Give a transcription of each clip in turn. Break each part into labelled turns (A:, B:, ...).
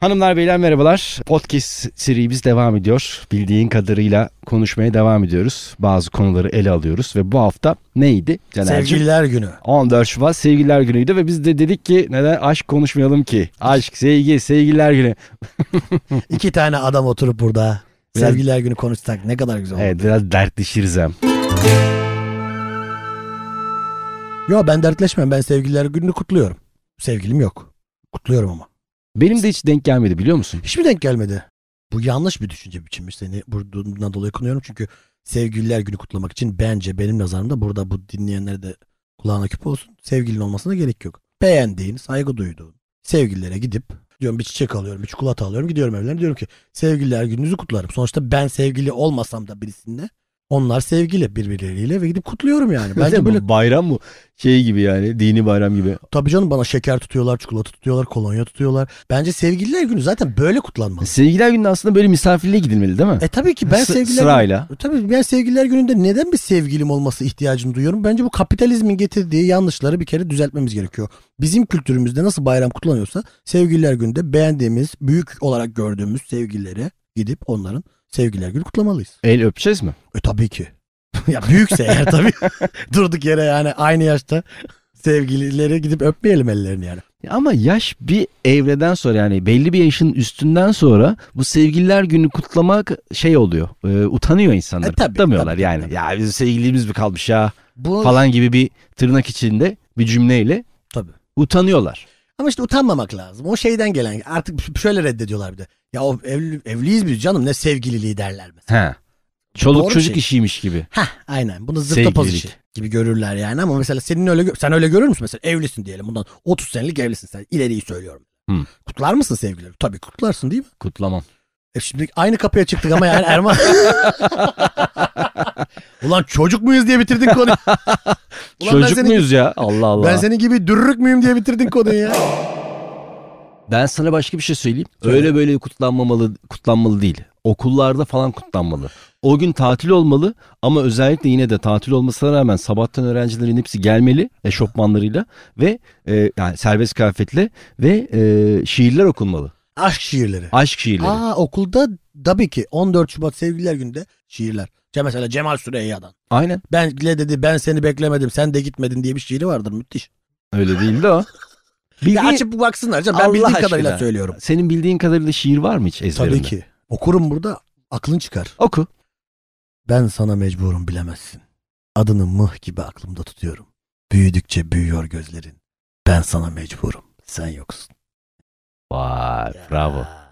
A: Hanımlar beyler merhabalar. Podcast serimiz devam ediyor. Bildiğin kadarıyla konuşmaya devam ediyoruz. Bazı konuları ele alıyoruz ve bu hafta neydi? Caner'cim?
B: Sevgililer günü.
A: 14 Şubat sevgililer günüydü ve biz de dedik ki neden aşk konuşmayalım ki? Aşk, sevgi, sevgililer günü.
B: İki tane adam oturup burada
A: Biraz-
B: sevgililer günü konuşsak ne kadar güzel olur.
A: Evet biraz dertleşiriz hem.
B: Yo ben dertleşmem ben sevgililer gününü kutluyorum. Sevgilim yok. Kutluyorum ama.
A: Benim de hiç denk gelmedi biliyor musun?
B: Hiç mi denk gelmedi? Bu yanlış bir düşünce biçimi seni buradan dolayı kınıyorum çünkü sevgililer günü kutlamak için bence benim nazarımda burada bu dinleyenlere de kulağına küp olsun. Sevgilin olmasına gerek yok. Beğendiğin, saygı duyduğun sevgililere gidip diyorum bir çiçek alıyorum, bir çikolata alıyorum, gidiyorum evlerine diyorum ki sevgililer gününüzü kutlarım. Sonuçta ben sevgili olmasam da birisinde onlar sevgili birbirleriyle ve gidip kutluyorum yani. Bence böyle
A: bayram bu. Şey gibi yani dini bayram gibi.
B: tabii canım bana şeker tutuyorlar, çikolata tutuyorlar, kolonya tutuyorlar. Bence sevgililer günü zaten böyle kutlanmalı.
A: Sevgililer günü aslında böyle misafirliğe gidilmeli değil mi?
B: E tabii ki ben
A: Sı-
B: sevgililer
A: Sırayla.
B: E, Tabii ben sevgililer gününde neden bir sevgilim olması ihtiyacını duyuyorum? Bence bu kapitalizmin getirdiği yanlışları bir kere düzeltmemiz gerekiyor. Bizim kültürümüzde nasıl bayram kutlanıyorsa sevgililer günde beğendiğimiz, büyük olarak gördüğümüz sevgililere gidip onların sevgililer günü kutlamalıyız.
A: El öpeceğiz mi?
B: E tabii ki. ya büyükse eğer tabii durduk yere yani aynı yaşta sevgililere gidip öpmeyelim ellerini yani.
A: Ama yaş bir evreden sonra yani belli bir yaşın üstünden sonra bu sevgililer günü kutlamak şey oluyor. e, utanıyor insanlar.
B: E tabii,
A: Kutlamıyorlar
B: tabii,
A: yani.
B: tabii.
A: Ya bizim sevgilimiz mi kalmış ya
B: Bu
A: falan gibi bir tırnak içinde bir cümleyle
B: tabii.
A: utanıyorlar.
B: Ama işte utanmamak lazım. O şeyden gelen artık şöyle reddediyorlar bir de. Ya o evli, evliyiz biz canım ne sevgililiği derler mesela.
A: He. Çoluk
B: Doğru
A: çocuk
B: şey.
A: işiymiş gibi.
B: Heh aynen. Bunu zıpta
A: Sevgililik.
B: poz işi gibi görürler yani ama mesela senin öyle gö- sen öyle görür müsün mesela evlisin diyelim bundan 30 senelik evlisin sen ileriyi söylüyorum.
A: Hmm.
B: Kutlar mısın sevgilileri? Tabii kutlarsın değil mi?
A: Kutlamam.
B: E şimdi aynı kapıya çıktık ama yani Erman. Ulan çocuk muyuz diye bitirdin konuyu. Ulan ben
A: çocuk
B: senin-
A: muyuz ya? Allah Allah.
B: Ben
A: Ben,
B: senin gibi dürrük müyüm diye bitirdin konuyu ya.
A: sana başka bir şey söyleyeyim.
B: Söyle.
A: Öyle böyle kutlanmamalı kutlanmalı değil. Okullarda falan kutlanmalı. O gün tatil olmalı ama özellikle yine de tatil olmasına rağmen sabahtan öğrencilerin hepsi gelmeli eşofmanlarıyla ve e, yani serbest kıyafetle ve e, şiirler okunmalı.
B: Aşk şiirleri.
A: Aşk şiirleri.
B: Aa okulda tabii ki 14 Şubat sevgililer günde şiirler. Ce- Mesela Cemal Süreyya'dan.
A: Aynen.
B: Benle dedi ben seni beklemedim sen de gitmedin diye bir şiiri vardır müthiş.
A: Öyle değil de o.
B: Ya
A: Bildiğin-
B: açıp baksınlar canım ben
A: Allah
B: bildiğim
A: aşkına.
B: kadarıyla söylüyorum.
A: Senin bildiğin kadarıyla şiir var mı hiç ezberinde?
B: Tabii ki. Okurum burada aklın çıkar.
A: Oku.
B: Ben sana mecburum bilemezsin. Adını mıh gibi aklımda tutuyorum. Büyüdükçe büyüyor gözlerin. Ben sana mecburum. Sen yoksun.
A: Vay bravo.
B: Ya.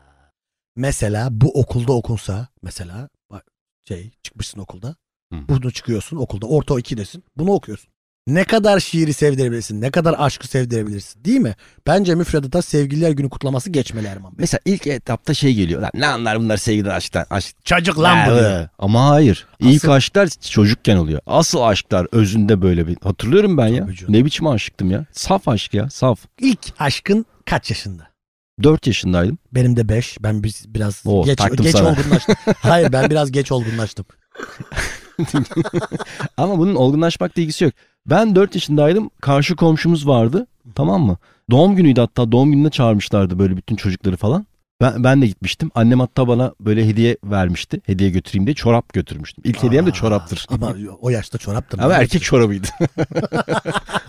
B: Mesela bu okulda okunsa mesela bak şey çıkmışsın okulda.
A: Hı.
B: Bunu çıkıyorsun okulda orta 2'desin. Bunu okuyorsun. Ne kadar şiiri sevdirebilirsin. Ne kadar aşkı sevdirebilirsin. Değil mi? Bence müfredata sevgililer günü kutlaması geçmeli Erman Bey.
A: Mesela ilk etapta şey geliyor. Lan ne anlar bunlar sevgiden aşktan? Aşk
B: Çocuk lan bu.
A: Ya,
B: diyor.
A: evet. Ama hayır. İlk
B: Asıl-
A: aşklar çocukken oluyor. Asıl aşklar özünde böyle bir. Hatırlıyorum ben ya.
B: Tabii canım.
A: Ne biçim aşıktım ya. Saf aşk ya. Saf.
B: İlk aşkın kaç yaşında?
A: 4 yaşındaydım.
B: Benim de 5. Ben biz biraz
A: Oo,
B: geç
A: taktım
B: geç
A: sana.
B: olgunlaştım. Hayır ben biraz geç olgunlaştım.
A: Ama bunun olgunlaşmakla ilgisi yok. Ben 4 yaşındaydım. Karşı komşumuz vardı. Tamam mı? Doğum günüydü hatta. Doğum gününe çağırmışlardı böyle bütün çocukları falan. Ben, ben de gitmiştim. Annem hatta bana böyle hediye vermişti. Hediye götüreyim diye çorap götürmüştüm. İlk hediyem şey de
B: Aa,
A: çoraptır.
B: Ama o yaşta çoraptır.
A: Ama erkek çorabıydı.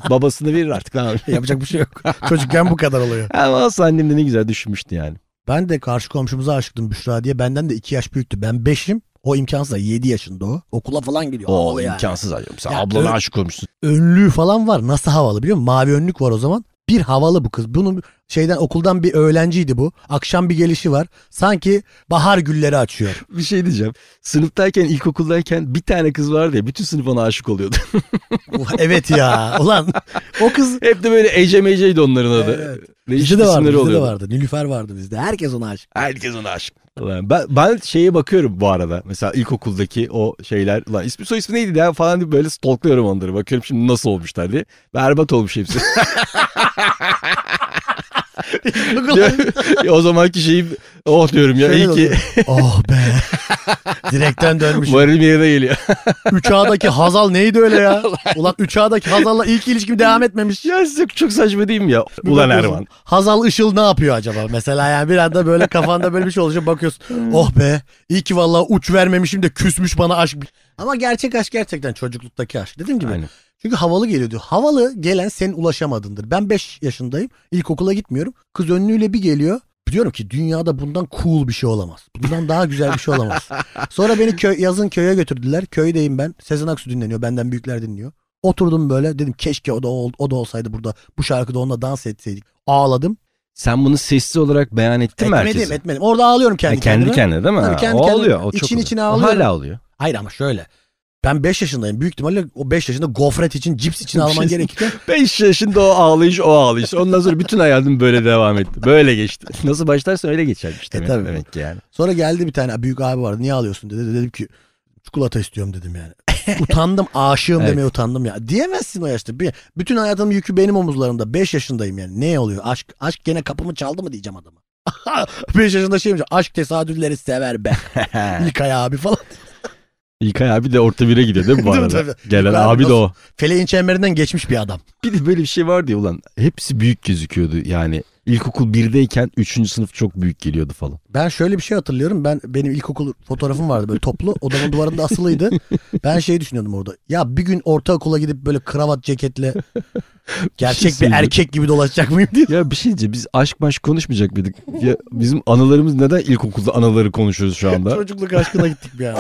A: Babasını verir artık. ne yapayım?
B: Yapacak bir şey yok. Çocukken bu kadar oluyor.
A: Ama aslında annem de ne güzel düşünmüştü yani.
B: Ben de karşı komşumuza aşıktım Büşra diye. Benden de 2 yaş büyüktü. Ben 5'im. O imkansız da 7 yaşında o. Okula falan gidiyor.
A: O
B: Havalı yani.
A: imkansız acaba. Sen
B: Ya,
A: ablana
B: ö-
A: aşık olmuşsun.
B: Önlüğü falan var. Nasıl havalı biliyor musun? Mavi önlük var o zaman. Bir havalı bu kız. Bunun şeyden okuldan bir öğlenciydi bu. Akşam bir gelişi var. Sanki bahar gülleri açıyor.
A: Bir şey diyeceğim. Sınıftayken, ilkokuldayken bir tane kız vardı ya bütün sınıf ona aşık oluyordu.
B: Ulan evet ya. Ulan o kız
A: Hep de böyle Ece Mece'ydi onların adı.
B: Evet.
A: Değişik
B: Bizde de vardı,
A: isimleri
B: bizde de
A: oluyordu.
B: vardı. Nilüfer vardı bizde. Herkes ona aşık.
A: Herkes ona aşık. Ulan ben, ben şeye bakıyorum bu arada. Mesela ilkokuldaki o şeyler. Ulan ismi soy ismi neydi ya falan diye böyle stalklıyorum onları. Bakıyorum şimdi nasıl olmuşlar diye. Berbat olmuş hepsi. Ya o zamanki şeyi oh diyorum ya
B: Şöyle
A: iyi ki
B: oluyor. oh be. Direkten dönmüş.
A: varil bir yere geliyor.
B: 3A'daki Hazal neydi öyle ya? Ulan 3A'daki Hazal'la ilk ilişkim devam etmemiş.
A: ya size çok saçma değil mi ya?
B: Bir
A: Ulan
B: bakıyorsun,
A: Erman.
B: Hazal Işıl ne yapıyor acaba? Mesela yani bir anda böyle kafanda böyle bir şey olacak
A: Hmm.
B: bakıyorsun. oh be iyi ki vallahi uç vermemişim de küsmüş bana aşk. Ama gerçek aşk gerçekten çocukluktaki aşk. Dediğim gibi.
A: Aynen.
B: Çünkü havalı geliyor diyor. Havalı gelen senin ulaşamadığındır. Ben 5 yaşındayım. İlkokula gitmiyorum. Kız önlüğüyle bir geliyor. Diyorum ki dünyada bundan cool bir şey olamaz. Bundan daha güzel bir şey olamaz. Sonra beni köy, yazın köye götürdüler. Köydeyim ben. Sezen Aksu dinleniyor. Benden büyükler dinliyor. Oturdum böyle dedim keşke o da ol- o da olsaydı burada. Bu şarkıda onunla dans etseydik. Ağladım.
A: Sen bunu sessiz olarak beyan ettin mi
B: etmedim
A: herkese?
B: etmedim. Orada ağlıyorum kendi,
A: Yani kendi
B: kendime.
A: kendine değil mi?
B: Tabii
A: Ha,
B: kendi
A: o
B: kendime.
A: oluyor. O çok
B: İçin
A: oluyor.
B: içine
A: O
B: ağlıyorum.
A: Hala oluyor.
B: Hayır ama şöyle. Ben 5 yaşındayım. Büyük ihtimalle o 5 yaşında gofret için cips için alman gerekirken
A: 5 yaşında o ağlayış o ağlayış. Ondan sonra bütün hayatım böyle devam etti. Böyle geçti. Nasıl başlarsan öyle geçermiş
B: E,
A: demek,
B: tabii.
A: demek ki yani.
B: Sonra geldi bir tane büyük abi vardı. Niye ağlıyorsun dedi. Dedim ki çikolata istiyorum dedim yani. utandım aşığım
A: Evet.
B: demeye utandım ya. Diyemezsin o yaşta. Bir, bütün hayatımın yükü benim omuzlarımda. 5 yaşındayım yani. Ne oluyor? Aşk aşk gene kapımı çaldı mı diyeceğim adama. 5 yaşında şey mi? Aşk tesadüfleri sever be. İlkay abi falan.
A: İlkay abi de orta bire gidiyor değil mi bu
B: Değil mi?
A: arada?
B: Tabii.
A: Gelen
B: İlkay abi
A: abi de
B: nasıl-
A: o.
B: Feleğin çemberinden geçmiş bir adam.
A: Bir de böyle bir şey vardı ya ulan. Hepsi büyük gözüküyordu yani. İlkokul birdeyken 3. sınıf çok büyük geliyordu falan.
B: Ben şöyle bir şey hatırlıyorum. Ben benim ilkokul fotoğrafım vardı böyle toplu. Odamın duvarında asılıydı. Ben şey düşünüyordum orada. Ya bir gün ortaokula gidip böyle kravat ceketle
A: Bir
B: gerçek
A: şey
B: bir erkek gibi dolaşacak mıyım diye.
A: Ya bir şey diyeceğim biz aşk maş konuşmayacak mıydık? Ya bizim analarımız neden ilkokulda anaları konuşuyoruz şu anda?
B: Çocukluk aşkına gittik bir an.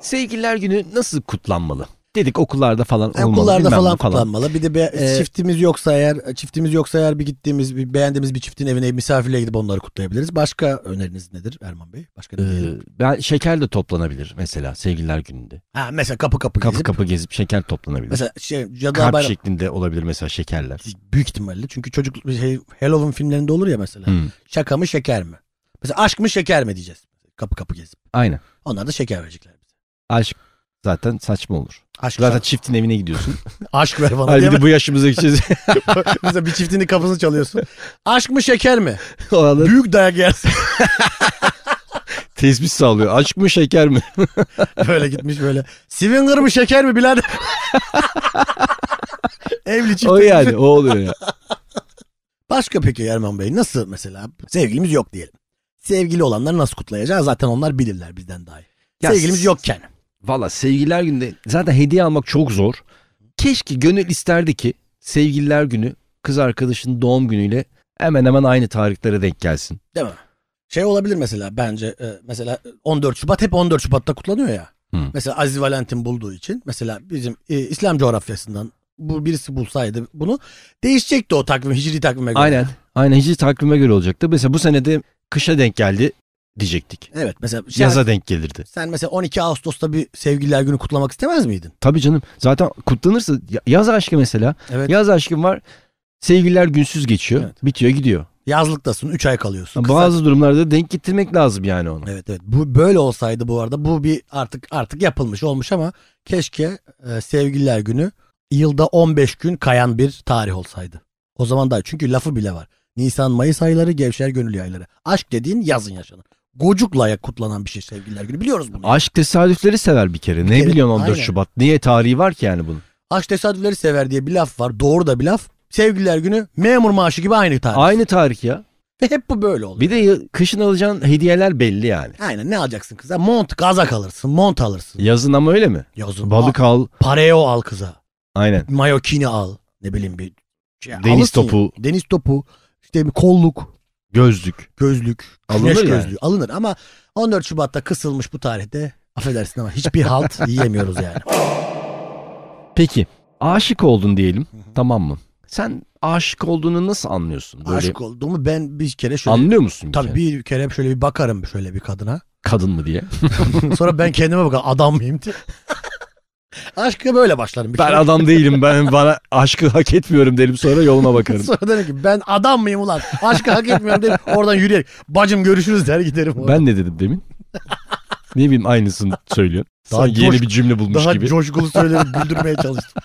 A: Sevgililer günü nasıl kutlanmalı? Dedik okullarda falan olmalı.
B: Okullarda
A: bilmem ne
B: falan kutlanmalı. Bir de be- e,
A: Ee,
B: çiftimiz yoksa eğer çiftimiz yoksa eğer bir gittiğimiz bir beğendiğimiz bir çiftin evine misafirliğe gidip onları kutlayabiliriz. Başka öneriniz nedir Erman Bey? Başka ne diyelim?
A: Ee, ben şeker de toplanabilir mesela sevgililer gününde.
B: Ha mesela kapı kapı,
A: Kapı
B: gezip-
A: kapı gezip şeker toplanabilir.
B: Mesela şey Cadılar
A: Kalp
B: Bayramı
A: şeklinde olabilir mesela şekerler.
B: büyük ihtimalle. Çünkü çocuk şey, Halloween filmlerinde olur ya mesela.
A: Hmm,
B: Şaka mı şeker mi? Mesela aşk mı şeker mi diyeceğiz. Kapı kapı gezip.
A: Aynen.
B: Onlar da şeker verecekler bize.
A: Aşk zaten saçma olur.
B: Aşk,
A: Zaten çiftin evine gidiyorsun.
B: aşk ver bana
A: Hayır
B: diye.
A: bir de bu yaşımıza gideceğiz.
B: mesela bir çiftini kapısını çalıyorsun. Aşk mı şeker mi?
A: Oralar
B: Büyük dayak yersin.
A: tespit sağlıyor. Aşk mı şeker mi?
B: böyle gitmiş böyle. Swinger mı şeker mi birader? Evli çift.
A: o yani o oluyor ya.
B: Başka peki Erman Bey nasıl mesela sevgilimiz yok diyelim. Sevgili olanları nasıl kutlayacağız? Zaten onlar bilirler bizden daha iyi.
A: Ya
B: sevgilimiz
A: s-
B: yokken.
A: Valla sevgililer günde zaten hediye almak çok zor. Keşke gönül isterdi ki sevgililer günü kız arkadaşının doğum günüyle hemen hemen aynı tarihlere denk gelsin.
B: Değil mi? Şey olabilir mesela bence e, mesela 14 Şubat hep 14 Şubat'ta kutlanıyor ya.
A: Hı.
B: Mesela Aziz Valentin bulduğu için mesela bizim e, İslam coğrafyasından bu birisi bulsaydı bunu değişecekti o takvim Hicri takvime göre.
A: Aynen. Aynen hiç takvime göre olacaktı. Mesela bu sene de kışa denk geldi diyecektik.
B: Evet mesela şey-
A: Yaza denk gelirdi.
B: sen mesela 12 Ağustos'ta bir sevgililer günü kutlamak istemez miydin?
A: Tabii canım. Zaten kutlanırsa ya- yaz aşkı mesela.
B: Evet.
A: Yaz aşkım var. Sevgililer günsüz geçiyor.
B: Evet.
A: Bitiyor gidiyor.
B: Yazlıktasın 3 ay kalıyorsun. Kısa-
A: Bazı durumlarda denk getirmek lazım yani onu.
B: Evet evet. Bu böyle olsaydı bu arada bu bir artık artık yapılmış olmuş ama keşke e, sevgililer günü yılda 15 gün kayan bir tarih olsaydı. O zaman da çünkü lafı bile var. Nisan Mayıs ayları gevşer gönül yayları. Aşk dediğin yazın yaşanır. Gocukla ya- kutlanan bir şey sevgililer günü biliyoruz bunu.
A: Aşk tesadüfleri sever bir kere. ne
B: kere-
A: biliyorsun 14
B: Aynen.
A: Şubat? Niye tarihi var ki yani bunun?
B: Aşk tesadüfleri sever diye bir laf var. Doğru da bir laf. Sevgililer günü memur maaşı gibi aynı tarih.
A: Aynı tarih ya.
B: Ve hep bu böyle oluyor.
A: Bir de ya- kışın alacağın hediyeler belli yani.
B: Aynen ne alacaksın kıza? Mont gaza kalırsın. Mont alırsın.
A: Yazın ama öyle mi?
B: Yazın.
A: Balık al.
B: Aa, Pareo al kıza.
A: Aynen.
B: mayokini al. Ne bileyim bir şey
A: Deniz
B: alırsın
A: topu.
B: ya. Deniz topu. işte bir kolluk,
A: Gözlük.
B: gözlük,
A: Alınır
B: güneş
A: yani.
B: gözlüğü alınır ama 14 Şubat'ta kısılmış bu tarihte affedersin ama hiçbir halt yiyemiyoruz yani.
A: Peki aşık oldun diyelim.
B: Hı hı.
A: Tamam mı? Sen aşık olduğunu nasıl anlıyorsun? Böyle
B: Aşık olduğumu ben bir kere şöyle
A: anlıyor musun? bir
B: tabii
A: kere?
B: bir kere şöyle bir bakarım şöyle bir kadına.
A: kadın mı diye.
B: Sonra ben kendime bakarım adam mıyım diye. Aşka böyle başlarım. Bir
A: Ben
B: kere.
A: adam değilim. Ben bana aşkı hak etmiyorum derim sonra yoluma bakarım.
B: Sonra derim ki ben adam mıyım ulan? Aşkı hak etmiyorum derim. Oradan yürüyerek bacım görüşürüz der giderim.
A: ben ne dedim demin? Ne bileyim aynısını söylüyor.
B: Daha
A: Sanki yeni
B: coş-
A: bir cümle bulmuş
B: Daha
A: gibi.
B: coşkulu söyleyip güldürmeye çalıştım.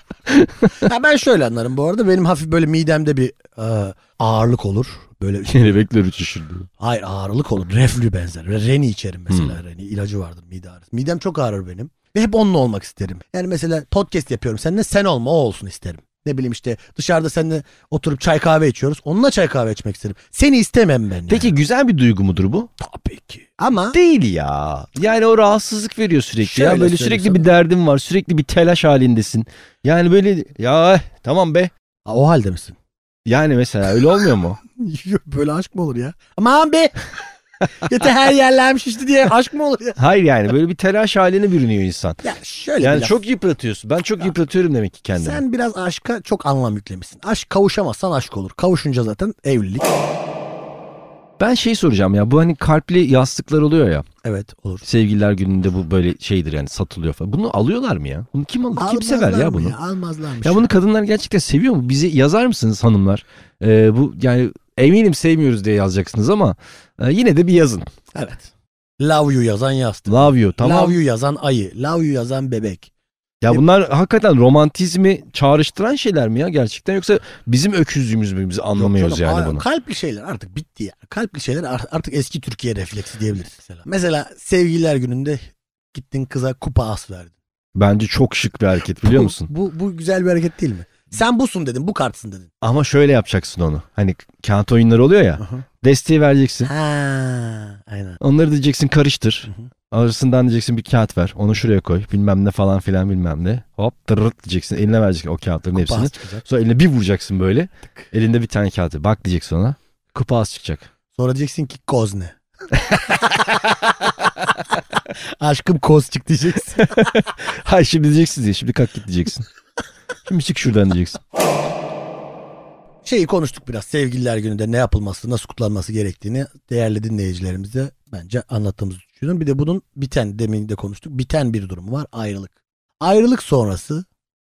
B: ha, ben şöyle anlarım bu arada. Benim hafif böyle midemde bir e, ağırlık olur. Böyle
A: Kelebekler uçuşur diyor.
B: Hayır ağırlık olur. Reflü benzer. Ve Reni içerim mesela.
A: Hmm.
B: Reni ilacı vardır mide ağrısı. Midem çok ağrır benim. Ve hep onunla olmak isterim. Yani mesela podcast yapıyorum seninle sen olma o olsun isterim. Ne bileyim işte dışarıda seninle oturup çay kahve içiyoruz. Onunla çay kahve içmek isterim. Seni istemem ben yani.
A: Peki güzel bir duygu mudur bu?
B: Tabii ki. Ama
A: Değil ya. Yani o rahatsızlık veriyor sürekli ya.
B: Şöyle
A: Böyle
B: söyleyeyim
A: sürekli
B: sana.
A: bir derdin var. Sürekli bir telaş halindesin. Yani böyle ya eh, tamam be.
B: Ha, o halde misin?
A: Yani mesela öyle olmuyor mu?
B: Yok, Böyle aşk mı olur ya? Aman be. Yeter her yerlerim şişti diye aşk mı olur ya?
A: Hayır yani böyle bir telaş haline bürünüyor insan.
B: Ya şöyle
A: Yani
B: bir laf.
A: çok yıpratıyorsun. Ben çok yıpratıyorum demek ki kendimi.
B: Sen biraz aşka çok anlam yüklemişsin. Aşk kavuşamazsan aşk olur. Kavuşunca zaten evlilik.
A: Ben şey soracağım ya bu hani kalpli yastıklar oluyor ya.
B: Evet olur.
A: Sevgililer gününde bu böyle şeydir yani satılıyor falan. Bunu alıyorlar mı ya? Bunu kim alır? kim sever
B: Almazlar
A: ya
B: mı
A: bunu?
B: Ya, almazlarmış.
A: Ya bunu kadınlar gerçekten seviyor mu? Bizi yazar mısınız hanımlar? Ee, bu yani eminim sevmiyoruz diye yazacaksınız ama e, yine de bir yazın.
B: Evet. Love you yazan yastık.
A: Love you tamam.
B: Love you yazan ayı. Love you yazan bebek.
A: Ya bunlar hakikaten romantizmi çağrıştıran şeyler mi ya gerçekten yoksa bizim öküzlüğümüz mü biz anlamıyoruz
B: Yok canım,
A: yani
B: a-
A: bunu.
B: Kalpli şeyler artık bitti ya. Kalpli şeyler ar- artık eski Türkiye refleksi diyebiliriz mesela. Mesela sevgililer gününde gittin kıza kupa as verdin.
A: Bence çok şık bir hareket biliyor
B: Bu-
A: musun?
B: Bu, bu, güzel bir hareket değil mi? Sen busun dedin, bu kartsın dedin.
A: Ama şöyle yapacaksın onu. Hani kağıt oyunları oluyor ya. Desteği vereceksin.
B: Ha, aynen.
A: Onları diyeceksin karıştır.
B: Hı hı.
A: Arasından diyeceksin bir kağıt ver. Onu şuraya koy. Bilmem ne falan filan bilmem ne. Hop tırırt diyeceksin. Eline vereceksin o kağıtların
B: Kupa
A: hepsini.
B: as çıkacak.
A: Sonra eline bir vuracaksın böyle. Elinde bir tane kağıt. Bak diyeceksin ona. Kupa az çıkacak.
B: Sonra diyeceksin ki koz ne? Aşkım koz çık diyeceksin.
A: Hayır şimdi diyeceksin diye. Şimdi kalk git diyeceksin. şimdi çık şuradan diyeceksin.
B: Şeyi konuştuk biraz. Sevgililer gününde ne yapılması, nasıl kutlanması gerektiğini değerli dinleyicilerimize bence anlattığımızı düşünüyorum. Bir de bunun biten, demin de konuştuk, biten bir durumu var. Ayrılık. Ayrılık sonrası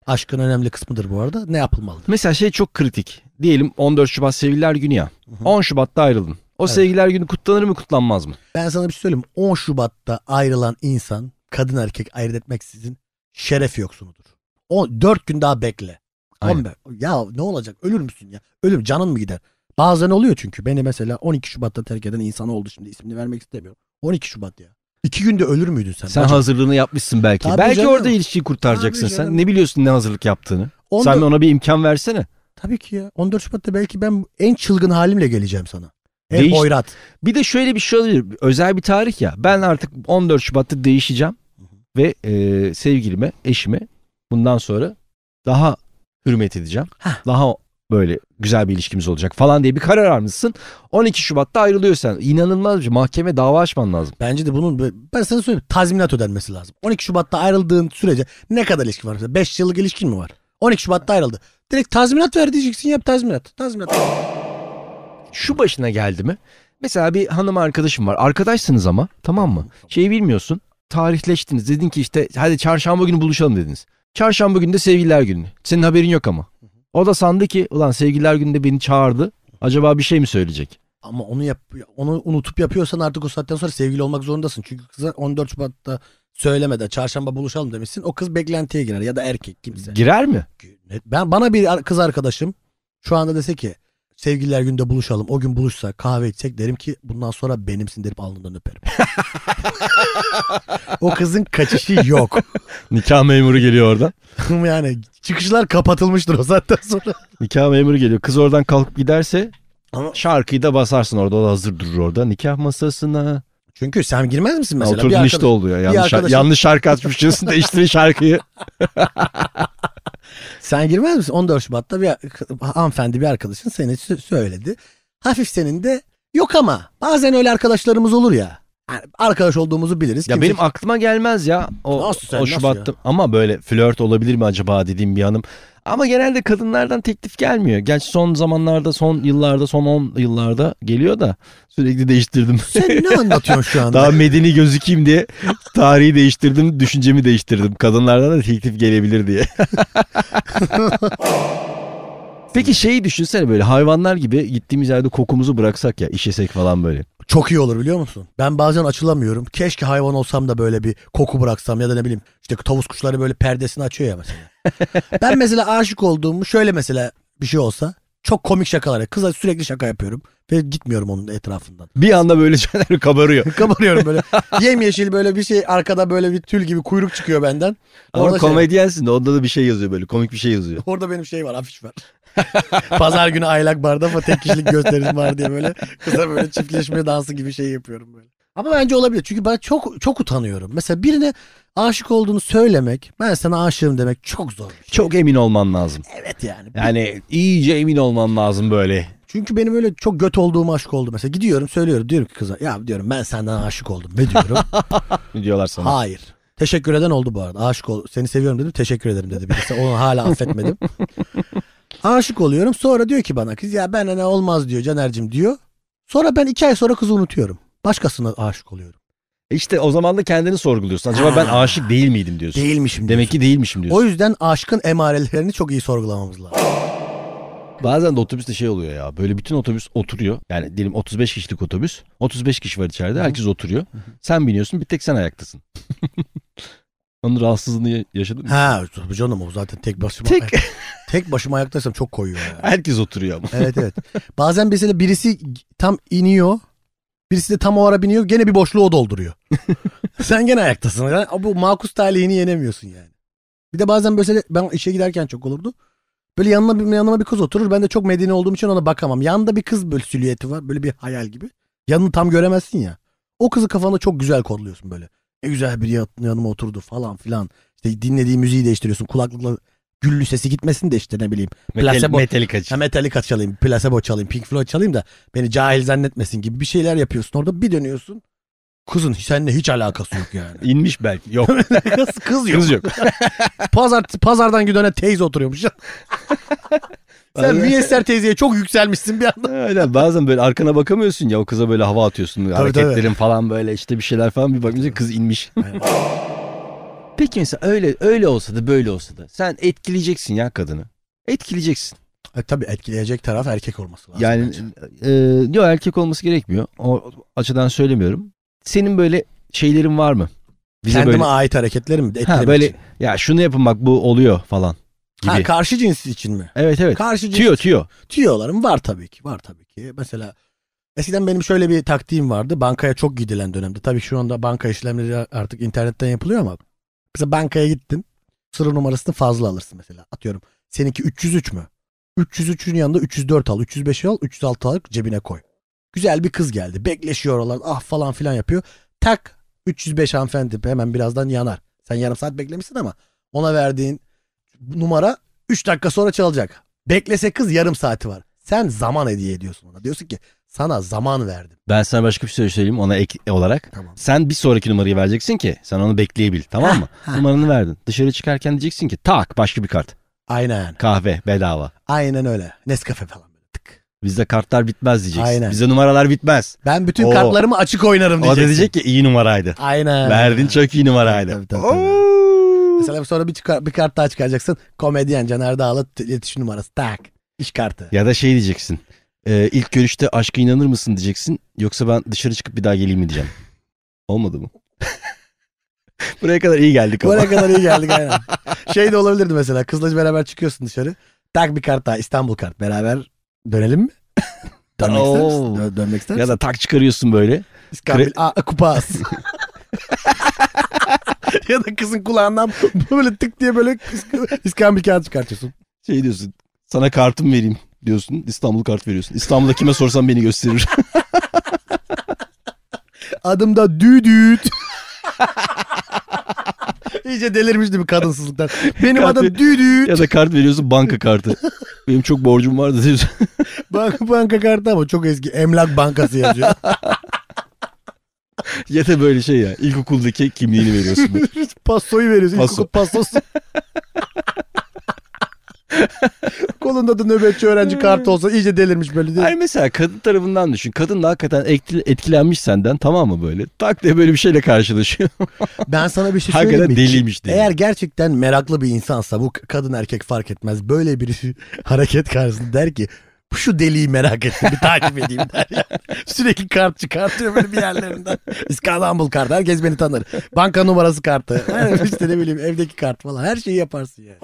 B: aşkın önemli kısmıdır bu arada. Ne yapılmalıdır?
A: Mesela şey çok kritik. Diyelim 14 Şubat sevgililer günü ya.
B: Hı hı.
A: 10 Şubat'ta ayrıldın. O
B: Evet.
A: sevgililer günü kutlanır mı kutlanmaz mı?
B: Ben sana bir şey söyleyeyim. 10 Şubat'ta ayrılan insan kadın erkek ayırt etmeksizin şeref yoksunudur. 4 gün daha bekle.
A: Aynen.
B: Oğlum be- Ya ne olacak? Ölür müsün ya? Ölüm canın mı gider? Bazen oluyor çünkü. Beni mesela 12 Şubat'ta terk eden insan oldu şimdi. ismini vermek istemiyorum. 12 Şubat ya. İki günde ölür müydün sen?
A: Sen
B: Bacım?
A: hazırlığını yapmışsın belki.
B: Tabii
A: belki
B: canım.
A: orada ilişkiyi kurtaracaksın
B: Tabii
A: sen.
B: canım.
A: Ne biliyorsun ne hazırlık yaptığını?
B: On
A: Sen
B: dört-
A: ona bir imkan versene.
B: Tabii ki ya. 14 Şubat'ta belki ben en çılgın halimle geleceğim sana. En
A: Değiş-
B: hoyrat.
A: Bir de şöyle bir şey olabilir. Özel bir tarih ya. Ben artık 14 Şubat'ta değişeceğim. Ve e, sevgilime, eşime bundan sonra daha hürmet edeceğim.
B: Hah.
A: Daha böyle güzel bir ilişkimiz olacak falan diye bir karar almışsın. 12 Şubat'ta ayrılıyorsan inanılmaz bir şey. mahkeme dava açman lazım.
B: Bence de bunun böyle- ben sana söyleyeyim tazminat ödenmesi lazım. 12 Şubat'ta ayrıldığın sürece ne kadar ilişki var? Mesela 5 yıllık ilişkin mi var? 12 Şubat'ta ayrıldı. Direkt tazminat ver diyeceksin yap tazminat. Tazminat.
A: Şu başına geldi mi? Mesela bir hanım arkadaşım var. Arkadaşsınız ama tamam mı? Şeyi bilmiyorsun. Tarihleştiniz. Dedin ki işte hadi çarşamba günü buluşalım dediniz. Çarşamba günü de sevgililer günü. Senin haberin yok ama. O da sandı ki ulan sevgililer gününde beni çağırdı. Acaba bir şey mi söyleyecek?
B: Ama onu yap onu unutup yapıyorsan artık o saatten sonra sevgili olmak zorundasın. Çünkü kıza 14 Şubat'ta söylemeden çarşamba buluşalım demişsin. O kız beklentiye girer ya da erkek kimse.
A: Girer mi?
B: Ben bana bir ar- kız arkadaşım şu anda dese ki sevgililer günde buluşalım. O gün buluşsak kahve içsek derim ki bundan sonra benimsin derip alnından öperim. o kızın kaçışı yok.
A: Nikah memuru geliyor oradan.
B: yani çıkışlar kapatılmıştır o saatten sonra.
A: Nikah memuru geliyor. Kız oradan kalkıp giderse
B: Ama-
A: şarkıyı da basarsın orada. O da hazır durur orada. Nikah masasına.
B: Çünkü sen girmez misin mesela?
A: Oturdun
B: Bir arkadaş-
A: işte oluyor. Yanlış,
B: arkadaşın-
A: yanlış şarkı açmışsın. Değiştirin şarkıyı.
B: Sen girmez misin? 14 Şubat'ta bir hanımefendi bir arkadaşın seni sö- söyledi. Hafif senin de yok ama bazen öyle arkadaşlarımız olur ya. Yani arkadaş olduğumuzu biliriz.
A: Ya
B: Kimse-
A: benim aklıma gelmez ya. O,
B: Nasıl sen,
A: o
B: nasıl
A: Şubat'ta ama böyle flört olabilir mi acaba dediğim bir hanım. Ama genelde kadınlardan teklif gelmiyor. Gerçi son zamanlarda, son yıllarda, son 10 yıllarda geliyor da sürekli değiştirdim.
B: Sen ne anlatıyorsun şu anda?
A: Daha medeni gözükeyim diye tarihi değiştirdim, düşüncemi değiştirdim. Kadınlardan da teklif gelebilir diye. Peki şeyi düşünsene böyle hayvanlar gibi gittiğimiz yerde kokumuzu bıraksak ya işesek falan böyle.
B: Çok iyi olur biliyor musun? Ben bazen açılamıyorum. Keşke hayvan olsam da böyle bir koku bıraksam ya da ne bileyim işte tavus kuşları böyle perdesini açıyor ya mesela. ben mesela aşık olduğumu şöyle mesela bir şey olsa çok komik şakalar. Kıza sürekli şaka yapıyorum ve gitmiyorum onun etrafından.
A: Bir anda böyle şeyler kabarıyor.
B: Kabarıyorum böyle. Yemyeşil böyle bir şey arkada böyle bir tül gibi kuyruk çıkıyor benden.
A: Ama
B: Orada şey-
A: komedyensin de onda da bir şey yazıyor böyle komik bir şey yazıyor.
B: Orada benim şey var afiş var. Pazar günü aylak barda ama tek kişilik gösterim var diye böyle kıza böyle çiftleşme dansı gibi şey yapıyorum böyle. Ama bence olabilir. Çünkü ben çok çok utanıyorum. Mesela birine aşık olduğunu söylemek, ben sana aşığım demek çok zor. bir şey.
A: Çok emin olman lazım.
B: Evet yani.
A: Yani iyice emin olman lazım böyle.
B: Çünkü benim öyle çok göt olduğum aşık oldu. Mesela gidiyorum söylüyorum diyorum ki kıza ya diyorum ben senden aşık oldum ve diyorum
A: Diyorlar sana.
B: hayır. Teşekkür eden oldu bu arada. Aşık ol. Seni seviyorum dedim. Teşekkür ederim dedi birisi. Onu hala affetmedim. Aşık oluyorum. Sonra diyor ki bana kız ya ben hani olmaz diyor Caner'cim diyor. Sonra ben iki ay sonra kızı unutuyorum. Başkasına aşık oluyorum.
A: İşte o zaman da kendini sorguluyorsun. Acaba ben
B: Ha.
A: aşık değil miydim diyorsun.
B: Değilmişim diyor.
A: Demek ki değilmişim diyorsun.
B: O yüzden aşkın emarelerini çok iyi sorgulamamız lazım.
A: Bazen de otobüste şey oluyor ya. Böyle bütün otobüs oturuyor. Yani diyelim 35 kişilik otobüs. 35 kişi var içeride. Herkes oturuyor. Sen biniyorsun. Bir tek sen ayaktasın. Onun rahatsızlığını yaşadın mı?
B: Ha dur canım o zaten tek başıma.
A: Tek-
B: Tek, başıma ayaktaysam çok koyuyor ya.
A: Herkes oturuyor ama.
B: Evet evet. Bazen mesela birisi tam iniyor. Birisi de tam o ara biniyor. Gene bir boşluğu o dolduruyor. Sen gene ayaktasın. Yani bu makus talihini yenemiyorsun yani. Bir de bazen böyle ben işe giderken çok olurdu. Böyle yanına bir, yanıma bir kız oturur. Ben de çok medeni olduğum için ona bakamam. Yanında bir kız böyle silüeti var. Böyle bir hayal gibi. Yanını tam göremezsin ya. O kızı kafanda çok güzel kodluyorsun böyle. Ne güzel bir yan- yanıma oturdu falan filan. İşte dinlediği müziği değiştiriyorsun. Kulaklıkla güllü sesi gitmesin de işte ne bileyim.
A: Metal,
B: Placebo-
A: metalik açı.
B: Ha Metallica çalayım, Placebo çalayım, Pink Floyd çalayım da beni cahil zannetmesin gibi bir şeyler yapıyorsun. Orada bir dönüyorsun. Kızın seninle hiç alakası yok yani.
A: İnmiş belki. Yok.
B: kız, kız yok.
A: Kız yok.
B: Pazar, pazardan güdene teyze oturuyormuş. Sen
A: Bazen-
B: müyesser teyzeye çok yükselmişsin bir anda.
A: Aynen bazen böyle arkana bakamıyorsun ya o kıza böyle hava atıyorsun hareketlerin falan böyle işte bir şeyler falan bir bakınca kız inmiş.
B: Aynen.
A: Peki mesela öyle öyle olsa da böyle olsa da sen etkileyeceksin ya kadını. Etkileyeceksin.
B: E, tabii etkileyecek taraf erkek olması lazım.
A: yani
B: bence.
A: e, yok erkek olması gerekmiyor. O açıdan söylemiyorum. Senin böyle şeylerin var mı? Bize
B: kendime
A: böyle
B: ait hareketlerim etkilemek
A: ha, böyle
B: için.
A: ya şunu yapın bak bu oluyor falan gibi.
B: Ha, karşı cins için mi?
A: evet evet.
B: Karşı cins
A: Tüyo tüyo.
B: Tüyolarım var tabii ki. Var tabii ki. Mesela eskiden benim şöyle bir taktiğim vardı. Bankaya çok gidilen dönemde. Tabii şu anda banka işlemleri artık internetten yapılıyor ama mesela bankaya gittin. Sıra numarasını fazla alırsın mesela. Atıyorum. Seninki 303 mü? 303'ün yanında 304 al, 305 al, 306 al cebine koy. Güzel bir kız geldi. Bekleşiyor oralar. Ah falan filan yapıyor. Tak 305 hanımefendi hemen birazdan yanar. Sen yarım saat beklemişsin ama ona verdiğin numara 3 dakika sonra çalacak. Beklese kız yarım saati var. Sen zaman hediye ediyorsun ona. Diyorsun ki sana zaman verdim.
A: Ben sana başka bir şey söyleyeyim ona ek olarak.
B: Tamam.
A: Sen bir sonraki numarayı vereceksin ki sen onu bekleyebil tamam mı?
B: Ha, ha.
A: Numaranı verdin. Dışarı çıkarken diyeceksin ki tak başka bir kart.
B: Aynen.
A: Kahve bedava.
B: Aynen öyle. Nescafe falan böyle tık.
A: Bizde kartlar bitmez diyeceksin.
B: Aynen.
A: Bizde numaralar bitmez.
B: Ben bütün
A: Oo.
B: kartlarımı açık
A: O
B: oynarım
A: da
B: diyeceksin.
A: diyecek ki iyi numaraydı.
B: Aynen.
A: Verdin çok iyi numaraydı.
B: Tabii, tabii, tabii.
A: Oo.
B: Mesela sonra bir, çıkar, bir kart daha çıkaracaksın. Komedyen Caner Dağlı t- iletişim numarası. Tak. İş kartı.
A: Ya da şey diyeceksin. Ee, ilk görüşte aşka inanır mısın diyeceksin. Yoksa ben dışarı çıkıp bir daha geleyim mi diyeceğim. Olmadı mı? Buraya kadar iyi geldik ama.
B: Buraya kadar iyi geldik aynen. Şey de olabilirdi mesela. Kızla beraber çıkıyorsun dışarı. Tak bir kart daha. İstanbul kart. Beraber dönelim mi? dönmek ister
A: Oo.
B: misin? Dö- dönmek ister
A: Ya
B: misin?
A: da tak çıkarıyorsun böyle.
B: İskambil. Aa, kupa as. ya da kızın kulağından böyle tık diye böyle is- iskambil kağıt çıkartıyorsun.
A: Şey diyorsun. Sana kartımı vereyim diyorsun. İstanbul kart veriyorsun. İstanbul'da kime sorsam beni gösterir.
B: Adımda düdüt. İyice delirmişti bir kadınsızlıktan. Benim
A: Kart-
B: adım düdüt.
A: ya da kart veriyorsun banka kartı. Benim çok borcum vardı diyorsun.
B: Banka, banka kartı ama çok eski. Emlak bankası yazıyor.
A: Ya da böyle şey ya ilkokuldaki kimliğini veriyorsun.
B: Pasoyu veriyorsun.
A: Paso.
B: Paso. Pasosu. Kolunda da nöbetçi öğrenci kartı olsa iyice delirmiş böyle.
A: Hayır mesela kadın tarafından düşün. Kadın da hakikaten etkil- etkilenmiş senden tamam mı böyle? Tak diye böyle bir şeyle karşılaşıyor.
B: Ben sana bir şey
A: Hakikaten
B: söyleyeyim mi?
A: deliymiş dedi.
B: Eğer gerçekten meraklı bir insansa bu kadın erkek fark etmez. Böyle birisi hareket karşısında der ki şu deliği merak ettim bir takip edeyim der ya. Sürekli kart çıkartıyor böyle bir yerlerinden. İstanbul kartı herkes beni tanır. Banka numarası kartı. Yani işte ne bileyim evdeki kart falan her şeyi yaparsın yani.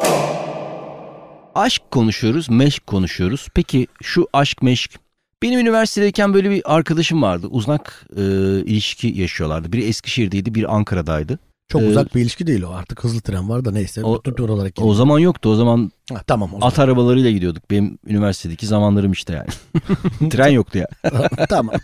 A: Aşk konuşuyoruz, meşk konuşuyoruz. Peki şu aşk meşk. Benim üniversitedeyken böyle bir arkadaşım vardı. Uzak e, ilişki yaşıyorlardı. Biri Eskişehir'deydi, biri Ankara'daydı.
B: Çok
A: Ee,
B: uzak bir ilişki değil o artık hızlı tren var da neyse.
A: O-
B: Tut tut olarak
A: O zaman yoktu. O zaman
B: Ha, tamam o
A: at arabalarıyla gidiyorduk. Benim üniversitedeki zamanlarım işte yani. Tren yoktu ya.
B: zaman. tamam.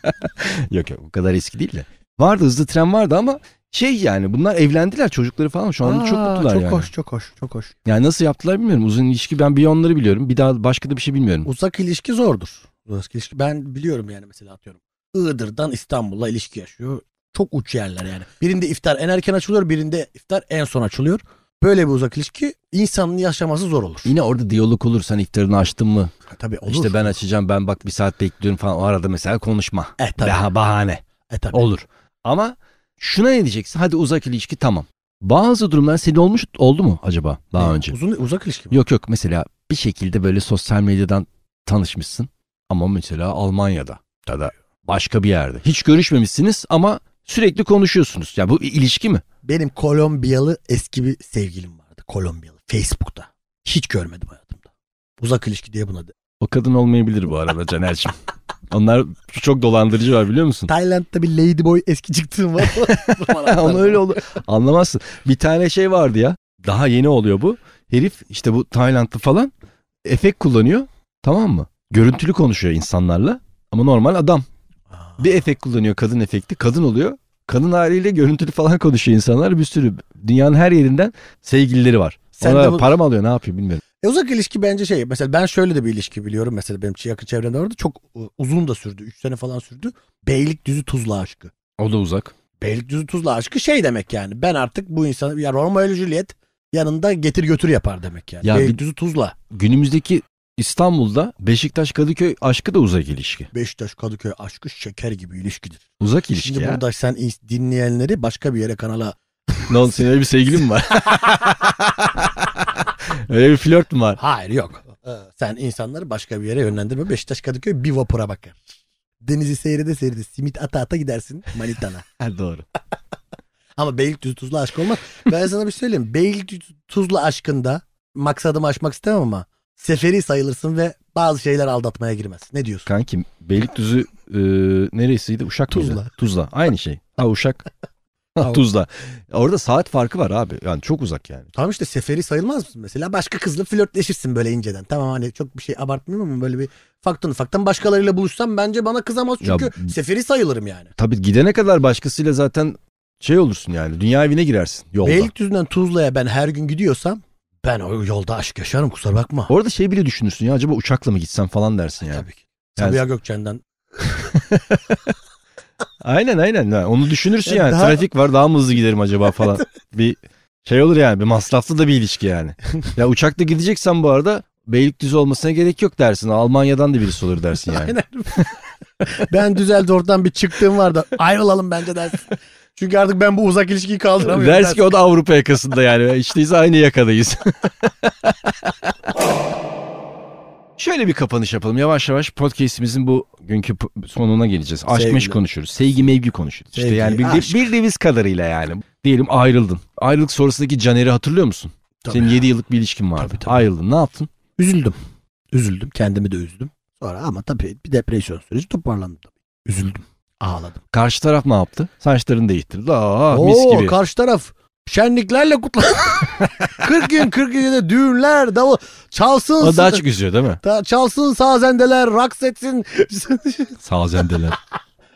A: yok yok o kadar eski değil de. Vardı hızlı tren vardı ama şey yani bunlar evlendiler çocukları falan şu anda çok
B: Aa,
A: mutlular
B: çok
A: yani.
B: hoş çok hoş çok hoş.
A: Yani nasıl yaptılar bilmiyorum. Uzun ilişki ben bir onları biliyorum. Bir daha başka da bir şey bilmiyorum.
B: Uzak ilişki zordur. Uzak ilişki ben biliyorum yani mesela atıyorum. Iğdır'dan İstanbul'a ilişki yaşıyor. Çok uç yerler yani. Birinde iftar en erken açılıyor, birinde iftar en son açılıyor. Böyle bir uzak ilişki insanın yaşaması zor olur.
A: Yine orada diyalog olur. Sen iftarını açtın mı?
B: Ha, tabii olur.
A: İşte ben açacağım ben bak bir saat bekliyorum falan. O arada mesela konuşma.
B: E tabii.
A: Daha bahane.
B: E, tabii.
A: Olur. Ama şuna ne diyeceksin? Hadi uzak ilişki tamam. Bazı durumlar senin olmuş oldu mu acaba daha
B: Ne,
A: önce?
B: Uzun uzak ilişki mi?
A: Yok yok mesela bir şekilde böyle sosyal medyadan tanışmışsın. Ama mesela Almanya'da ya da başka bir yerde. Hiç görüşmemişsiniz ama sürekli konuşuyorsunuz. Ya bu bir ilişki mi?
B: Benim Kolombiyalı eski bir sevgilim vardı. Kolombiyalı. Facebook'ta. Hiç görmedim hayatımda. Uzak ilişki diye buna de.
A: O kadın olmayabilir bu arada Caner'cim. Onlar çok dolandırıcı var biliyor musun?
B: Tayland'da bir ladyboy eski çıktığım var.
A: Onu öyle oldu. Anlamazsın. Bir tane şey vardı ya. Daha yeni oluyor bu. Herif işte bu Taylandlı falan efekt kullanıyor. Tamam mı? Görüntülü konuşuyor insanlarla. Ama normal adam.
B: Aa.
A: Bir efekt kullanıyor kadın efekti. Kadın oluyor. Kadın haliyle görüntülü falan konuşuyor insanlar. Bir sürü dünyanın her yerinden sevgilileri var.
B: Sen
A: Ona
B: de bu-
A: para mı alıyor ne yapıyor bilmiyorum.
B: E uzak ilişki bence şey mesela ben şöyle de bir ilişki biliyorum mesela benim yakın çevremde vardı çok e, uzun da sürdü 3 sene falan sürdü Beylikdüzü Tuzla aşkı.
A: O da uzak.
B: Beylikdüzü Tuzla aşkı şey demek yani ben artık bu insanı ya Romeo ile Juliet yanında getir götür yapar demek yani
A: Ya bir-
B: Beylikdüzü Tuzla
A: Günümüzdeki İstanbul'da Beşiktaş Kadıköy aşkı da uzak ilişki.
B: Beşiktaş Kadıköy aşkı şeker gibi ilişkidir.
A: Uzak ilişki
B: Şimdi
A: ya.
B: burada sen in- dinleyenleri başka bir yere kanala
A: Ne oldu senin öyle bir sevgilin mi var? öyle bir flört mü var?
B: hayır yok Ee, sen insanları başka bir yere yönlendirme Beşiktaş Kadıköy bir vapura bakar. Denizi seyrede seyrede simit ata ata gidersin manitana.
A: Ha, doğru.
B: Ama Beylikdüzü tuzlu aşk olmaz. Ben sana bir şey söyleyeyim. Beylikdüzü tuzlu aşkında maksadımı aşmak istemem ama seferi sayılırsın ve bazı şeyler aldatmaya girmez. Ne diyorsun?
A: Kankim Beylikdüzü e, neresiydi? Uşak mıydı?
B: Tuzla.
A: Tuzla. Aynı şey. Ha Uşak. Ha, Tuzla. Orada saat farkı var abi. Yani çok uzak yani.
B: Tamam işte seferi sayılmaz mısın mesela? Başka kızla flörtleşirsin böyle inceden. Tamam hani çok bir şey abartmıyorum ama böyle bir faktan ufaktan başkalarıyla buluşsam bence bana kızamaz.
A: Ya
B: Çünkü seferi sayılırım yani.
A: Tabii gidene kadar başkasıyla zaten şey olursun yani. Dünya evine girersin yolda.
B: Beylikdüzü'nden Tuzla'ya ben her gün gidiyorsam ben o yolda aşk yaşarım kusura bakma.
A: Orada şey bile düşünürsün ya acaba uçakla mı gitsem falan dersin yani.
B: Tabii ki.
A: Yani-
B: Sabiha Gökçen'den
A: Aynen aynen. Yani onu düşünürsün
B: Ya
A: yani.
B: daha-
A: Trafik var daha mı hızlı giderim acaba falan. bir şey olur yani. Bir masraflı da bir ilişki yani. ya uçakla gideceksen bu arada Beylikdüzü olmasına gerek yok dersin. Almanya'dan da birisi olur dersin yani.
B: Aynen. ben Düsseldorf'tan bir çıktığım var da ayrılalım bence dersin. Çünkü artık ben bu uzak ilişkiyi kaldıramıyorum.
A: Dersin ki o da Avrupa yakasında yani. İşteyiz aynı yakadayız. Şöyle bir kapanış yapalım. Yavaş yavaş podcast'imizin bu günkü p- sonuna geleceğiz. Aşk
B: Sevgili.
A: meşk konuşuruz. Sevgi mevgi konuşuruz. işte
B: Sevgi,
A: yani bildi-
B: aşk.
A: bildiğimiz kadarıyla yani. Diyelim ayrıldın. Ayrılık sonrasındaki Caner'i hatırlıyor musun?
B: Tabii
A: Senin
B: ya.
A: 7 yıllık bir ilişkin vardı.
B: Tabii, tabii.
A: Ayrıldın. Ne yaptın?
B: Üzüldüm. Üzüldüm. Kendimi de üzdüm. Sonra ama tabii bir depresyon süreci toparlandım. tabii. Üzüldüm. Ağladım.
A: Karşı taraf ne yaptı? Saçlarını değiştirdi. Aa Ah, mis gibi.
B: karşı taraf şenliklerle kutlan. 40 gün 40 gecede düğünler, davul, çalsın.
A: o daha çok üzüyor değil mi?
B: ta- çalsın sazendeler, raks etsin.
A: Sazendeler.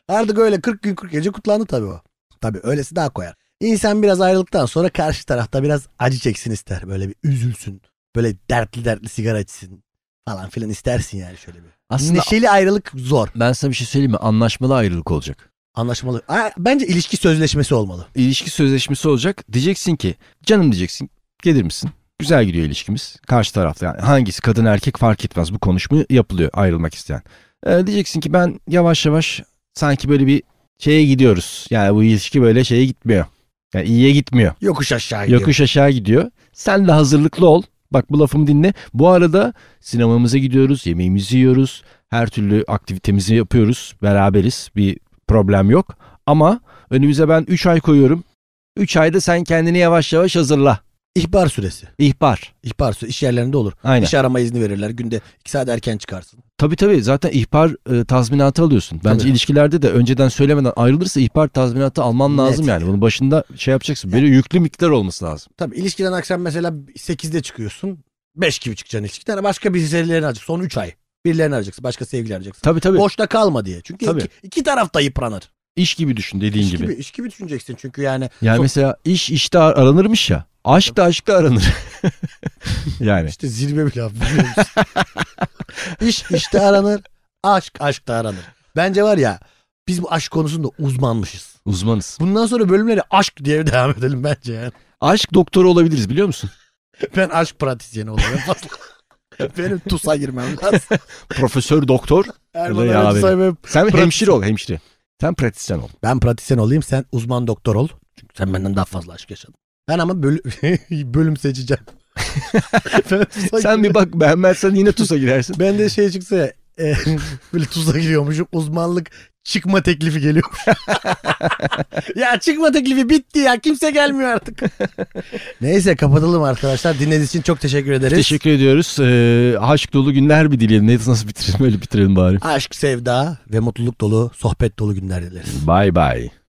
B: Artık öyle 40 gün 40 gece kutlandı tabii o. Tabii öylesi daha koyar. İnsan biraz ayrıldıktan sonra karşı tarafta biraz acı çeksin ister. Böyle bir üzülsün. Böyle dertli dertli sigara içsin falan filan istersin yani şöyle bir.
A: Aslında
B: Neşeli ayrılık zor.
A: ben sana bir şey söyleyeyim mi? Anlaşmalı ayrılık olacak.
B: Anlaşmalı. Aa, Bence ilişki sözleşmesi olmalı.
A: ilişki sözleşmesi olacak. Diyeceksin ki canım diyeceksin gelir misin? Güzel gidiyor ilişkimiz. Karşı tarafta yani hangisi kadın erkek fark etmez bu konuşma yapılıyor ayrılmak isteyen. Ee, diyeceksin ki ben yavaş yavaş sanki böyle bir şeye gidiyoruz. Yani bu ilişki böyle şeye gitmiyor. Yani iyiye gitmiyor.
B: Yokuş aşağı gidiyor.
A: Yokuş aşağı gidiyor. Sen de hazırlıklı ol. Bak bu lafımı dinle. Bu arada sinemamıza gidiyoruz, yemeğimizi yiyoruz. Her türlü aktivitemizi yapıyoruz. Beraberiz. Bir problem yok. Ama önümüze ben 3 ay koyuyorum. 3 ayda sen kendini yavaş yavaş hazırla.
B: İhbar süresi.
A: İhbar.
B: İhbar süresi iş yerlerinde olur.
A: Aynen.
B: İş arama izni verirler. Günde 2 saat erken çıkarsın.
A: Tabii tabii zaten ihbar e, tazminatı alıyorsun. Bence
B: Tabii.
A: ilişkilerde de önceden söylemeden ayrılırsa ihbar tazminatı alman
B: Net
A: lazım yani.
B: yani.
A: Bunun başında şey yapacaksın. Böyle yüklü miktar olması lazım.
B: Tabii ilişkiden akşam mesela 8'de çıkıyorsun. 5 gibi çıkacaksın ilişkiden. Başka birilerini arayacaksın. Son 3 ay. Birilerini arayacaksın. Başka sevgili arayacaksın.
A: Tabii tabii.
B: Boşta kalma diye. Çünkü
A: Tabii.
B: iki, iki taraf da yıpranır.
A: İş gibi düşün dediğin
B: İş
A: gibi.
B: gibi. iş gibi düşüneceksin çünkü yani.
A: Yani
B: Çok-
A: mesela iş işte ar- aranırmış ya. Aşk da aşk da aranır. yani.
B: İşte zirve bir laf biliyor musun? İş işte aranır. Aşk aşkta aranır. Bence var ya biz bu aşk konusunda uzmanmışız.
A: Uzmanız.
B: Bundan sonra bölümleri aşk diye devam edelim bence yani.
A: Aşk doktoru olabiliriz biliyor musun?
B: Ben aşk pratisyeni olayım. Benim TUS'a girmem lazım.
A: Profesör doktor.
B: Erman
A: Ya abi.
B: Arıcısay benim-
A: Sen
B: Pratisyen.
A: hemşire ol hemşire. Sen pratisyen ol.
B: Ben pratisyen olayım sen uzman doktor ol. Çünkü sen benden daha fazla aşk yaşadın. Ben ama bölü- bölüm seçeceğim. ben, TUS'a
A: Sen bir bak beğenmezsen yine TUS'a girersin.
B: Ben de şey çıksa ya, e, böyle tuza giriyormuşum uzmanlık çıkma teklifi geliyormuş. ya çıkma teklifi bitti ya kimse gelmiyor artık. Neyse kapatalım arkadaşlar. Dinlediğiniz için çok teşekkür ederiz.
A: Teşekkür ediyoruz. Ee, aşk dolu günler bir dileyelim. Neyse nasıl bitirelim öyle bitirelim bari.
B: Aşk, sevda ve mutluluk dolu, sohbet dolu günler dileriz.
A: Bye bye.